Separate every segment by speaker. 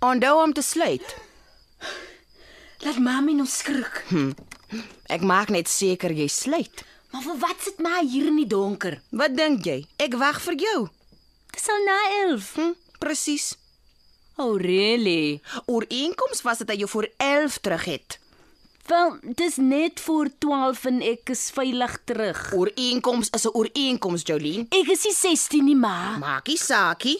Speaker 1: Onthou om te sluit.
Speaker 2: Laat mami nou skrik.
Speaker 1: Ek maak net seker jy sluit.
Speaker 2: Maar vir wat sit my hier in die donker?
Speaker 1: Wat dink jy? Ek wag vir jou.
Speaker 2: Dis al na 11.
Speaker 1: Hm, presies.
Speaker 2: Oh really?
Speaker 1: Ooreenkoms was dit dat jy voor 11 terug het.
Speaker 2: Wel, dis net voor 12 en ek is veilig terug.
Speaker 1: Ooreenkoms is 'n ooreenkoms, Jolien.
Speaker 2: Ek is nie 16 nie, ma.
Speaker 1: Maakie saakie.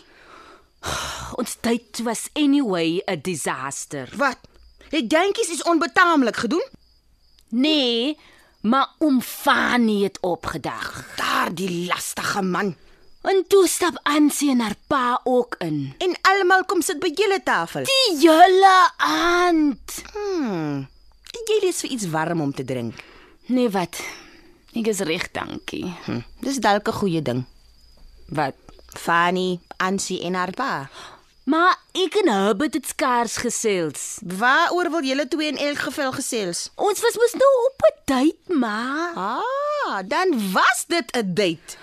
Speaker 2: Ons tyd was anyway 'n disaster.
Speaker 1: Wat? Het jentjies is onbetaamlik gedoen?
Speaker 2: Nee, maar oom Fanie het opgedag.
Speaker 1: Daardie lastige man.
Speaker 2: En toe stap Ansie en haar pa ook in.
Speaker 1: En almal kom sit by julle tafel.
Speaker 2: Die julle aand.
Speaker 1: Hmm. Jy lees vir iets warm om te drink.
Speaker 2: Nee wat? Ek is reg, dankie.
Speaker 1: Hm. Dis dalk 'n goeie ding.
Speaker 2: Wat?
Speaker 1: Fanny, Ansie en haar pa.
Speaker 2: Maar ek en Herbert het skaars gesels.
Speaker 1: Waaroor wil julle twee in elk geval gesels?
Speaker 2: Ons was mos nou op 'n date, maar
Speaker 1: Ah, dan was dit 'n date.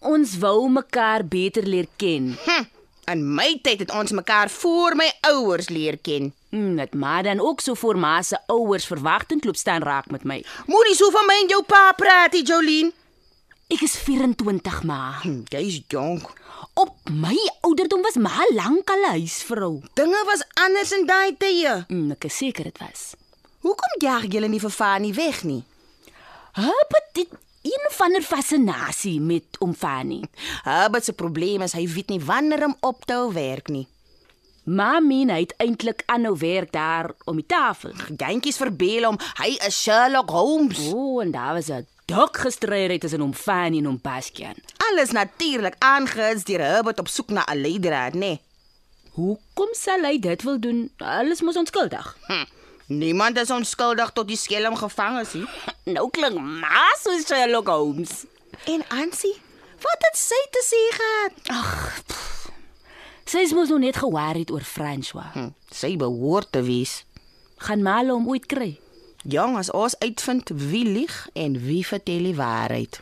Speaker 2: ons wou mekaar beter leer ken.
Speaker 1: Hm. In my tyd het ons mekaar voor my ouers leer ken.
Speaker 2: Mm, dit maar dan ook so voor ma se ouers verwagtend loop staan raak met my.
Speaker 1: Moenie so van my en jou pa praat, nie, Jolien.
Speaker 2: Ek is 24, ma.
Speaker 1: Hm, Jy's jonk.
Speaker 2: Op my ouderdom was ma lankal 'n huisvrou.
Speaker 1: Dinge was anders in daai tye.
Speaker 2: Mm, ek is seker dit was.
Speaker 1: Hoekom jaag julle nie vir Fanny weg nie?
Speaker 2: Herbert het een van 'n fascinasie met oom Fanny.
Speaker 1: Herbert se probleem is hy weet nie wanneer om op te hou werk nie.
Speaker 2: Ma min hy het eintlik aanhou werk daar om die tafel.
Speaker 1: Jantjies verbeel hom, hy is Sherlock Holmes.
Speaker 2: O, en daar was 'n dak gestryd tussen hom Fanny en hom Bastian.
Speaker 1: Alles natuurlik aangehits deur Herbert op soek na 'n leidraad, nê? Nee.
Speaker 2: Hoekom sal hy dit wil doen? Alles mos onskuldig.
Speaker 1: Hm. Niemand is onskuldig tot die skelm gevang is nie.
Speaker 2: Nou klink ma soos Sherlock Holmes.
Speaker 1: En Ansie, wat het sy te sê gehad?
Speaker 2: Ag. pff. Sy is mos nog net geworried oor François.
Speaker 1: Hm. Sy behoort te wees.
Speaker 2: Gaan ma hulle hom ooit kry?
Speaker 1: Jong, as ons uitvind wie lieg en wie vertel die waarheid.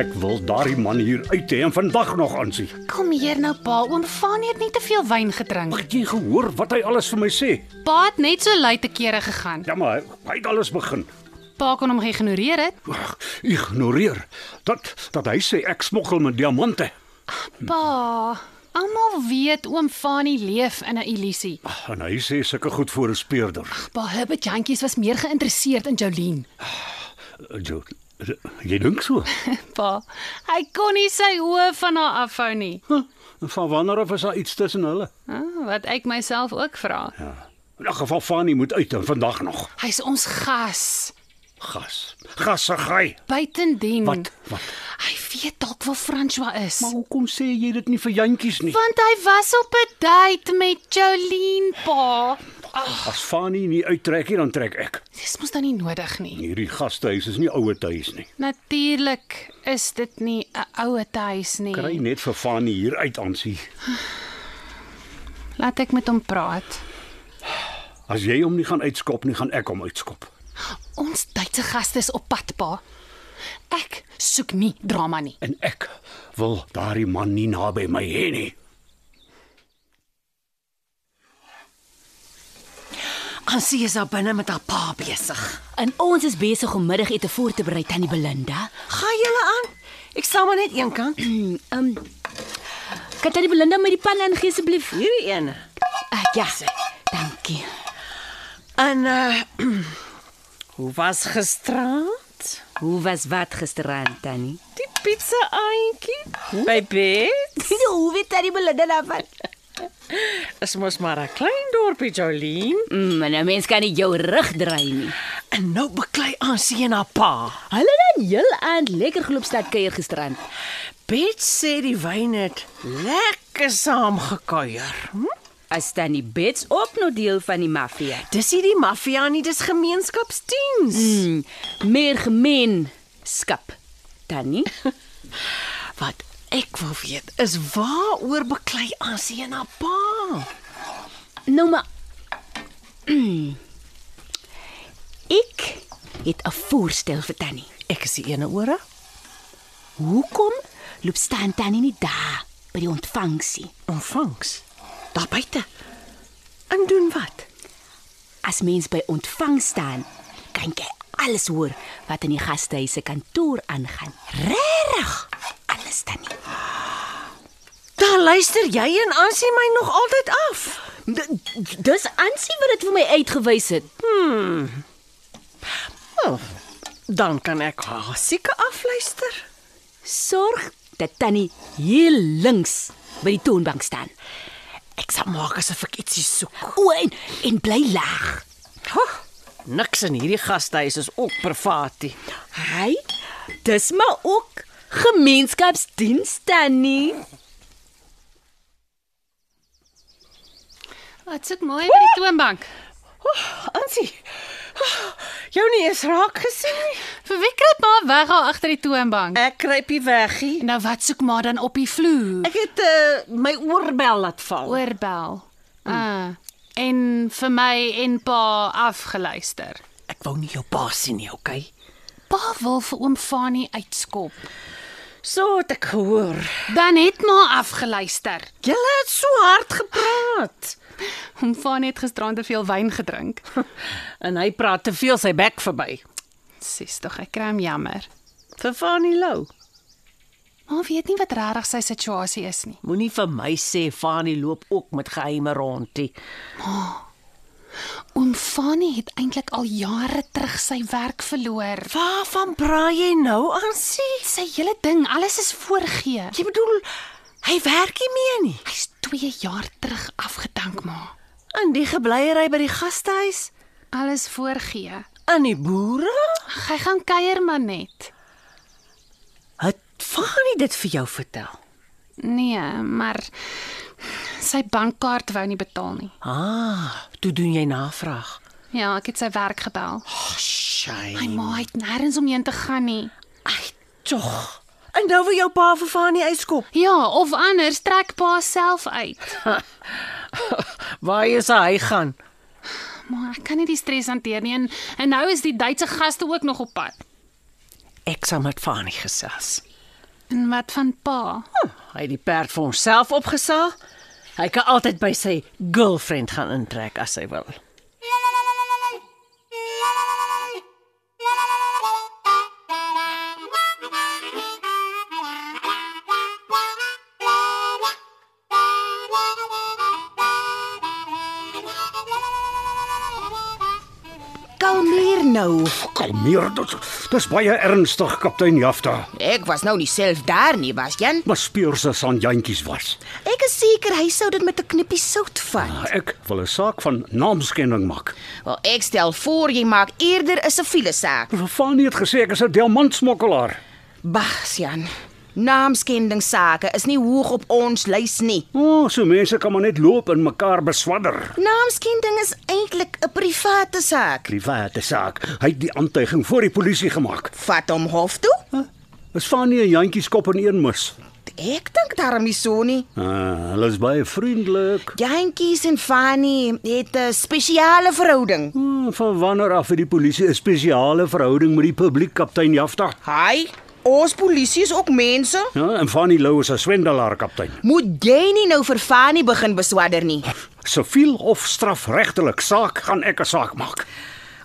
Speaker 3: Ek wil daardie man hier uit hê en vandag nog aansien.
Speaker 4: Kom hier nou pa, oom Fanie het net te veel wyn gedrink.
Speaker 3: Het jy gehoor wat hy alles vir my sê?
Speaker 4: Pa het net so lui te kere gegaan.
Speaker 3: Ja maar, hy- hy het alles begin.
Speaker 4: Pa kon hom geïgnoreer het.
Speaker 3: Ag, Ignoreer. Dat dat hy sê ek smokkel met diamante. Hm.
Speaker 4: Pa, almal weet oom Fanie leef in 'n illusie.
Speaker 3: En hy sê sulke goed voor 'n speurder.
Speaker 4: Pa Herbert Jantjies was meer geïnteresseerd in Jolien.
Speaker 3: Eh, Jo, jy dink so.
Speaker 4: Pa, hy kon nie sy oë van haar afhou nie.
Speaker 3: Huh, Van wanneer af is daar iets tussen hulle?
Speaker 4: Ah, Wat ek myself ook vra.
Speaker 3: Ja. In 'n geval Fanie moet uit en vandag nog.
Speaker 4: Hy's ons gas.
Speaker 3: Gas. Gassegaai.
Speaker 4: Buitendien.
Speaker 3: Wat? Wat?
Speaker 4: Hy weet dalk waar François is.
Speaker 3: Hmm. Maar hoekom sê jy dit nie vir jantjies nie?
Speaker 4: Want hy was op 'n date met Jolien, pa.
Speaker 3: As Fanie nie uittrek nie, dan trek ek.
Speaker 4: Dis mos dan nie nodig nie.
Speaker 3: Hierdie gastehuis is nie ouer huis nie.
Speaker 4: Natuurlik is dit nie 'n oue huis nie.
Speaker 3: Kry net vir Fanie hier uit aansie.
Speaker 4: Laat ek met hom praat.
Speaker 3: As jy hom nie gaan uitskop nie, gaan ek hom uitskop.
Speaker 4: Ons Duitse gaste is op pad, pa. Ek soek nie drama nie.
Speaker 3: En ek wil daardie man nie naby my hê nie.
Speaker 5: Ansie is daar binne met haar pa besig.
Speaker 2: En ons is besig om middagete voor te berei tannie Belinda.
Speaker 5: Gaan julle aan? Ek staan maar net een kant.
Speaker 2: Ehm um, Kan tannie Belinda my die pan aangee asseblief?
Speaker 5: Hierdie een.
Speaker 2: Ah, ja. Dankie.
Speaker 5: En uh hoe was gisterand?
Speaker 2: Hoe was wat gisterand tannie?
Speaker 5: Die pizza aantjie by bed
Speaker 2: Sien hoe weet tannie Belinda daarvan?
Speaker 5: is mos maar 'n klein dorpie Jolien.
Speaker 2: Mm, en 'n mens kan nie jou rug draai nie.
Speaker 5: En nou beklei Ansie en haar pa.
Speaker 2: Hulle het dan heel aand lekker geloopstad kuier gisterand.
Speaker 5: Bet sê die wyn het lekker saamgekuier. Hm?
Speaker 2: As tannie Bets ook nog deel van die maffia.
Speaker 5: Dis nie die maffia nie, dis gemeenskapsdiens. Mm.
Speaker 2: Mm, meer gemeenskap. Tannie,
Speaker 5: Wat ek wil weet is waaroor beklei Ansie en haar pa?
Speaker 2: nou maar. mm, Ek het 'n voorstel vir tannie.
Speaker 5: Ek is die ene ore.
Speaker 2: Hoekom loop staan tannie nie daar by die ontvangsie?
Speaker 5: Ontvangs. Daar buite. En doen wat?
Speaker 2: As mens by ontvangs staan, kan jy alles hoor wat in die gastehuis se kantoor aangaan. Regtig? Alles tannie.
Speaker 5: Dan luister jy en Ansie my nog altyd af.
Speaker 2: D- Dis Ansie wat dit vir my uitgewys het.
Speaker 5: Wel, dan kan ek haar seker afluister.
Speaker 2: Sorg dat tannie heel links by die toonbank staan.
Speaker 5: Ek sal maak asof ek ietsie soek.
Speaker 2: O, en, en bly laag.
Speaker 5: Ho, niks in hierdie gastehuis is ook privaatie.
Speaker 2: Hy, dis maar ook gemeenskapsdiens tannie.
Speaker 4: Wat sit mooi by die toonbank?
Speaker 5: Ansie. oh, Jou nie eens raak gesien nie.
Speaker 4: Vir wie kruip maar weg daar agter die toonbank?
Speaker 5: Ek kruipie weggie.
Speaker 4: Nou wat soek maar dan op die vloer?
Speaker 5: Ek het uh, my oorbel laat val.
Speaker 4: Oorbel. Ah. En vir my en pa afgeluister.
Speaker 5: Ek wou nie jou pa sien nie, okay?
Speaker 4: Pa wil vir oom Fanie uitskop.
Speaker 5: So het ek gehoor.
Speaker 4: Dan het maar afgeluister.
Speaker 5: Julle het so hard gepraat.
Speaker 4: Oom Fanie het gisterand te veel wyn gedrink.
Speaker 5: en hy praat te veel sy bek verby.
Speaker 4: Sis tog, ek kry hom jammer.
Speaker 5: Vir Fanny Lou.
Speaker 4: Maar weet nie wat regtig sy situasie is nie.
Speaker 5: Moenie vir my sê Fanny loop ook met geheime rondie.
Speaker 4: Oom Fanie het eintlik al jare terug sy werk verloor.
Speaker 5: Waarvan praat jy nou, Ansie?
Speaker 4: Sy hele ding, alles is voorgee.
Speaker 5: Jy bedoel hy werk nie meer nie.
Speaker 4: Hy's 2 jaar terug afgedank maar.
Speaker 5: In die gebleiery by die gastehuis,
Speaker 4: Alles voorgee.
Speaker 5: in die boere?
Speaker 4: Ag, hy gaan kuier maar net.
Speaker 5: Het Fanny dit vir jou vertel?
Speaker 4: Nee, maar sy bankkaart wou nie betaal nie.
Speaker 5: Ah, toe doen jy navraag.
Speaker 4: Ja, ek het sy werk gebel.
Speaker 5: Shay.
Speaker 4: My ma het nêrens omheen te gaan nie.
Speaker 5: Ai, tog. En nou wil jou pa vir Fanny uitskop.
Speaker 4: Ja, of anders trek pa self uit.
Speaker 5: Waar is hy gaan?
Speaker 4: Maar ek kan nie die stres hanteer nie en, en nou is die Duitse gaste ook nog op pad.
Speaker 5: Ek sal met Fanny gesels.
Speaker 4: En wat van pa?
Speaker 5: Oh, hy het die perd vir homself opgesaal. Hy kan altyd by sy girlfriend gaan intrek as hy wil.
Speaker 1: Kalmeer nou.
Speaker 3: Kalmeer, dit dis baie ernstig, kaptein Jafta.
Speaker 1: Ek was nou nie self daar nie, Bastian.
Speaker 3: Maar speur se aan jantjies was.
Speaker 1: Ek is seker hy sou dit met 'n knippie sout vat.
Speaker 3: Ek wil 'n saak van naamskending maak.
Speaker 1: Ah. Wel, ek stel voor jy maak eerder 'n siviele saak.
Speaker 3: Fanny het gesê ek is 'n diamantsmokkelaar.
Speaker 1: Bastian, naamskendingssake is nie hoog op ons lys nie.
Speaker 3: O, oh, so mense kan maar net loop en mekaar beswadder.
Speaker 1: Naamskending is eintlik 'n private saak.
Speaker 3: Private saak. Hy het die aantuiging voor die polisie gemaak.
Speaker 1: Vat hom hof toe.
Speaker 3: Is Fanny en jantjies kop in een mis.
Speaker 1: Ek dink daarom nie so nie.
Speaker 3: Ah, hulle is baie vriendelik.
Speaker 1: Jantjies en Fanny het 'n spesiale verhouding.
Speaker 3: Hmm, Van wanneer af het die polisie 'n spesiale verhouding met die publiek, kaptein Jafta?
Speaker 1: Hi, ons polisie is ook mense.
Speaker 3: Ja, en Fanny Lou is 'n swendelaar, kaptein.
Speaker 1: Moet jy nie nou vir Fanny begin beswadder nie.
Speaker 3: Siviel of strafregtelik saak gaan ek 'n saak maak.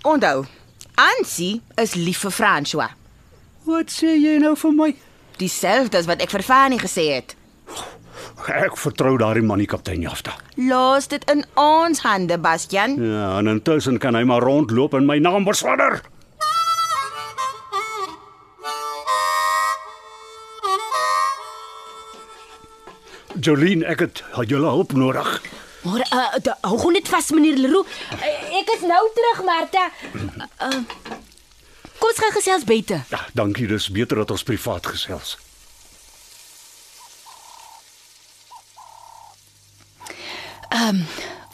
Speaker 1: Onthou, Ansie is lief vir François.
Speaker 3: Wat sê jy nou vir my?
Speaker 1: Dieselfde as wat ek vir Fanny gesê het.
Speaker 3: Ek vertrou daardie man nie kaptein Jafta.
Speaker 1: Los dit in ons hande, Bastian.
Speaker 3: Ja, en intussen kan hy maar rondloop en my naam beswadder. Jolene, ek het julle hulp nodig.
Speaker 2: Maar uh, da- hou gou net vas meneer Leroux. Uh, ek is nou terug, Martha. Uh, kom ons gaan gesels buite.
Speaker 3: Ja, dankie, dis beter dat ons privaat gesels.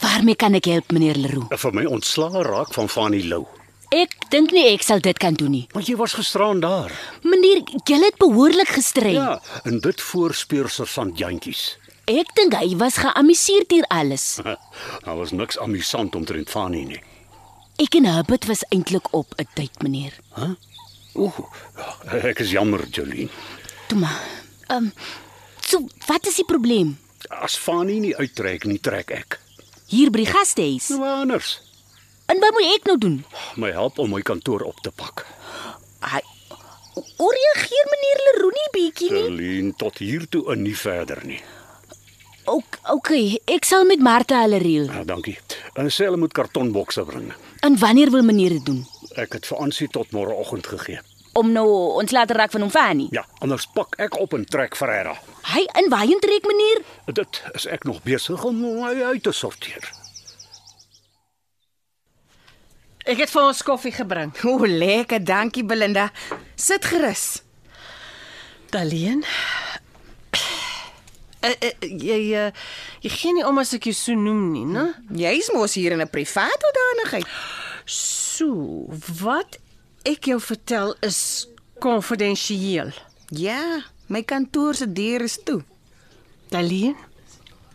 Speaker 2: Waarmee kan ek help meneer Leroux?
Speaker 3: Vir my ontslae raak van Fanny Lou.
Speaker 2: Ek dink nie ek sal dit kan doen nie.
Speaker 3: Want jy was gisteraan daar.
Speaker 2: Meneer, jy het behoorlik gestrei.
Speaker 3: Ja, en dit voorspeur sergeant Jantjies.
Speaker 2: Ek dink hy was geamuseerd deur alles.
Speaker 3: Daar was niks amusant omtrent Fanny nie.
Speaker 2: Ek en Herbert was eintlik op 'n tyd, meneer.
Speaker 3: Oeg, ek is jammer, Jolene.
Speaker 2: Toe maar. Ehm um, so, wat is die probleem?
Speaker 3: As Fanny nie uittrek nie, trek ek.
Speaker 2: Hier by die gastehuis.
Speaker 3: Nou maar anders.
Speaker 2: En wat moet ek nou doen?
Speaker 3: My help om my kantoor op te pak.
Speaker 2: Ai, hoe reageer meneer Leroux nie bietjie
Speaker 3: Ja.
Speaker 2: nie?
Speaker 3: Jolene, tot hier toe en nie verder nie.
Speaker 2: Ok, okay, ek sal met Martha hulle reël.
Speaker 3: Ja, dankie. En sê hulle moet kartonbokse bring.
Speaker 2: En wanneer wil meneer dit doen?
Speaker 3: Ek het vir Ansie tot môreoggend gegee.
Speaker 2: Om nou ons later raak van hom Fanny.
Speaker 3: Ja, anders pak ek op en trek Ferreira.
Speaker 2: Hy in waarheen trek meneer?
Speaker 3: Dit is ek nog besig om hy uit te sorteer.
Speaker 5: Ek het vir ons koffie gebring.
Speaker 1: O, lekker, dankie Belinda. Sit gerus.
Speaker 5: Daleen. Uh, uh, jy uh, jy gee nie om as ek jou so noem nie, né?
Speaker 1: Jy's mos hier in 'n privaat hoedanigheid.
Speaker 5: So, wat ek jou vertel is konfidensieel.
Speaker 1: Ja, my kantoor se deur is toe.
Speaker 5: Daleen.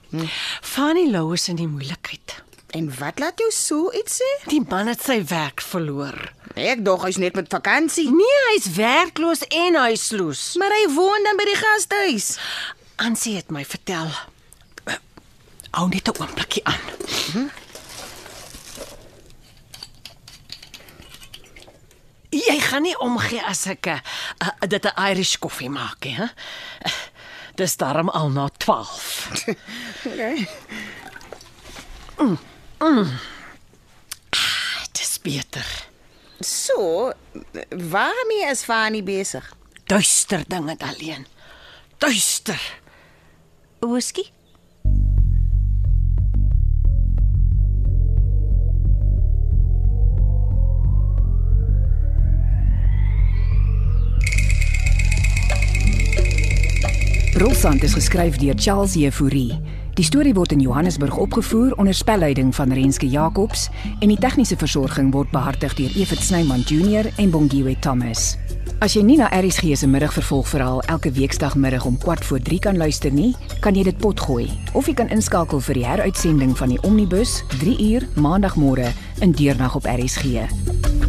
Speaker 5: Hm? Fanny Lou is in die moeilikheid.
Speaker 1: En wat laat jou so iets sê? Nee,
Speaker 5: Die man het sy werk verloor.
Speaker 1: Ek dog hy's net met vakansie.
Speaker 5: Nee, hy's werkloos en huisloos.
Speaker 1: Maar hy woon dan by die gastehuis.
Speaker 5: Ansie het my vertel. eh, Hou net 'n oombliekie aan. Hm? Jy gaan nie omgee as ek eh, eh, dit 'n Irish koffie maak nie, hè? Eh, Dis daarom al na 12. okay. Mm, mm. mm. Ah, dis beter.
Speaker 1: So, waarmee is Fanny besig?
Speaker 5: Duister dinge alleen. Duister.
Speaker 2: Whisky?
Speaker 6: Brolsand is geskryf deur Charles Jefouri. Die storie word in Johannesburg opgevoer onder spelleiding van Renske Jacobs en die tegniese versorging word behartig deur Evit Snyman Junior en Bongwe Thomas. As jy nie na ERG se middagvervolgverhaal elke weekdagmiddag om 14:45 kan luister nie, kan jy dit potgooi of jy kan inskakel vir die heruitsending van die Omnibus 3 uur maandagmôre in deernag op ERG.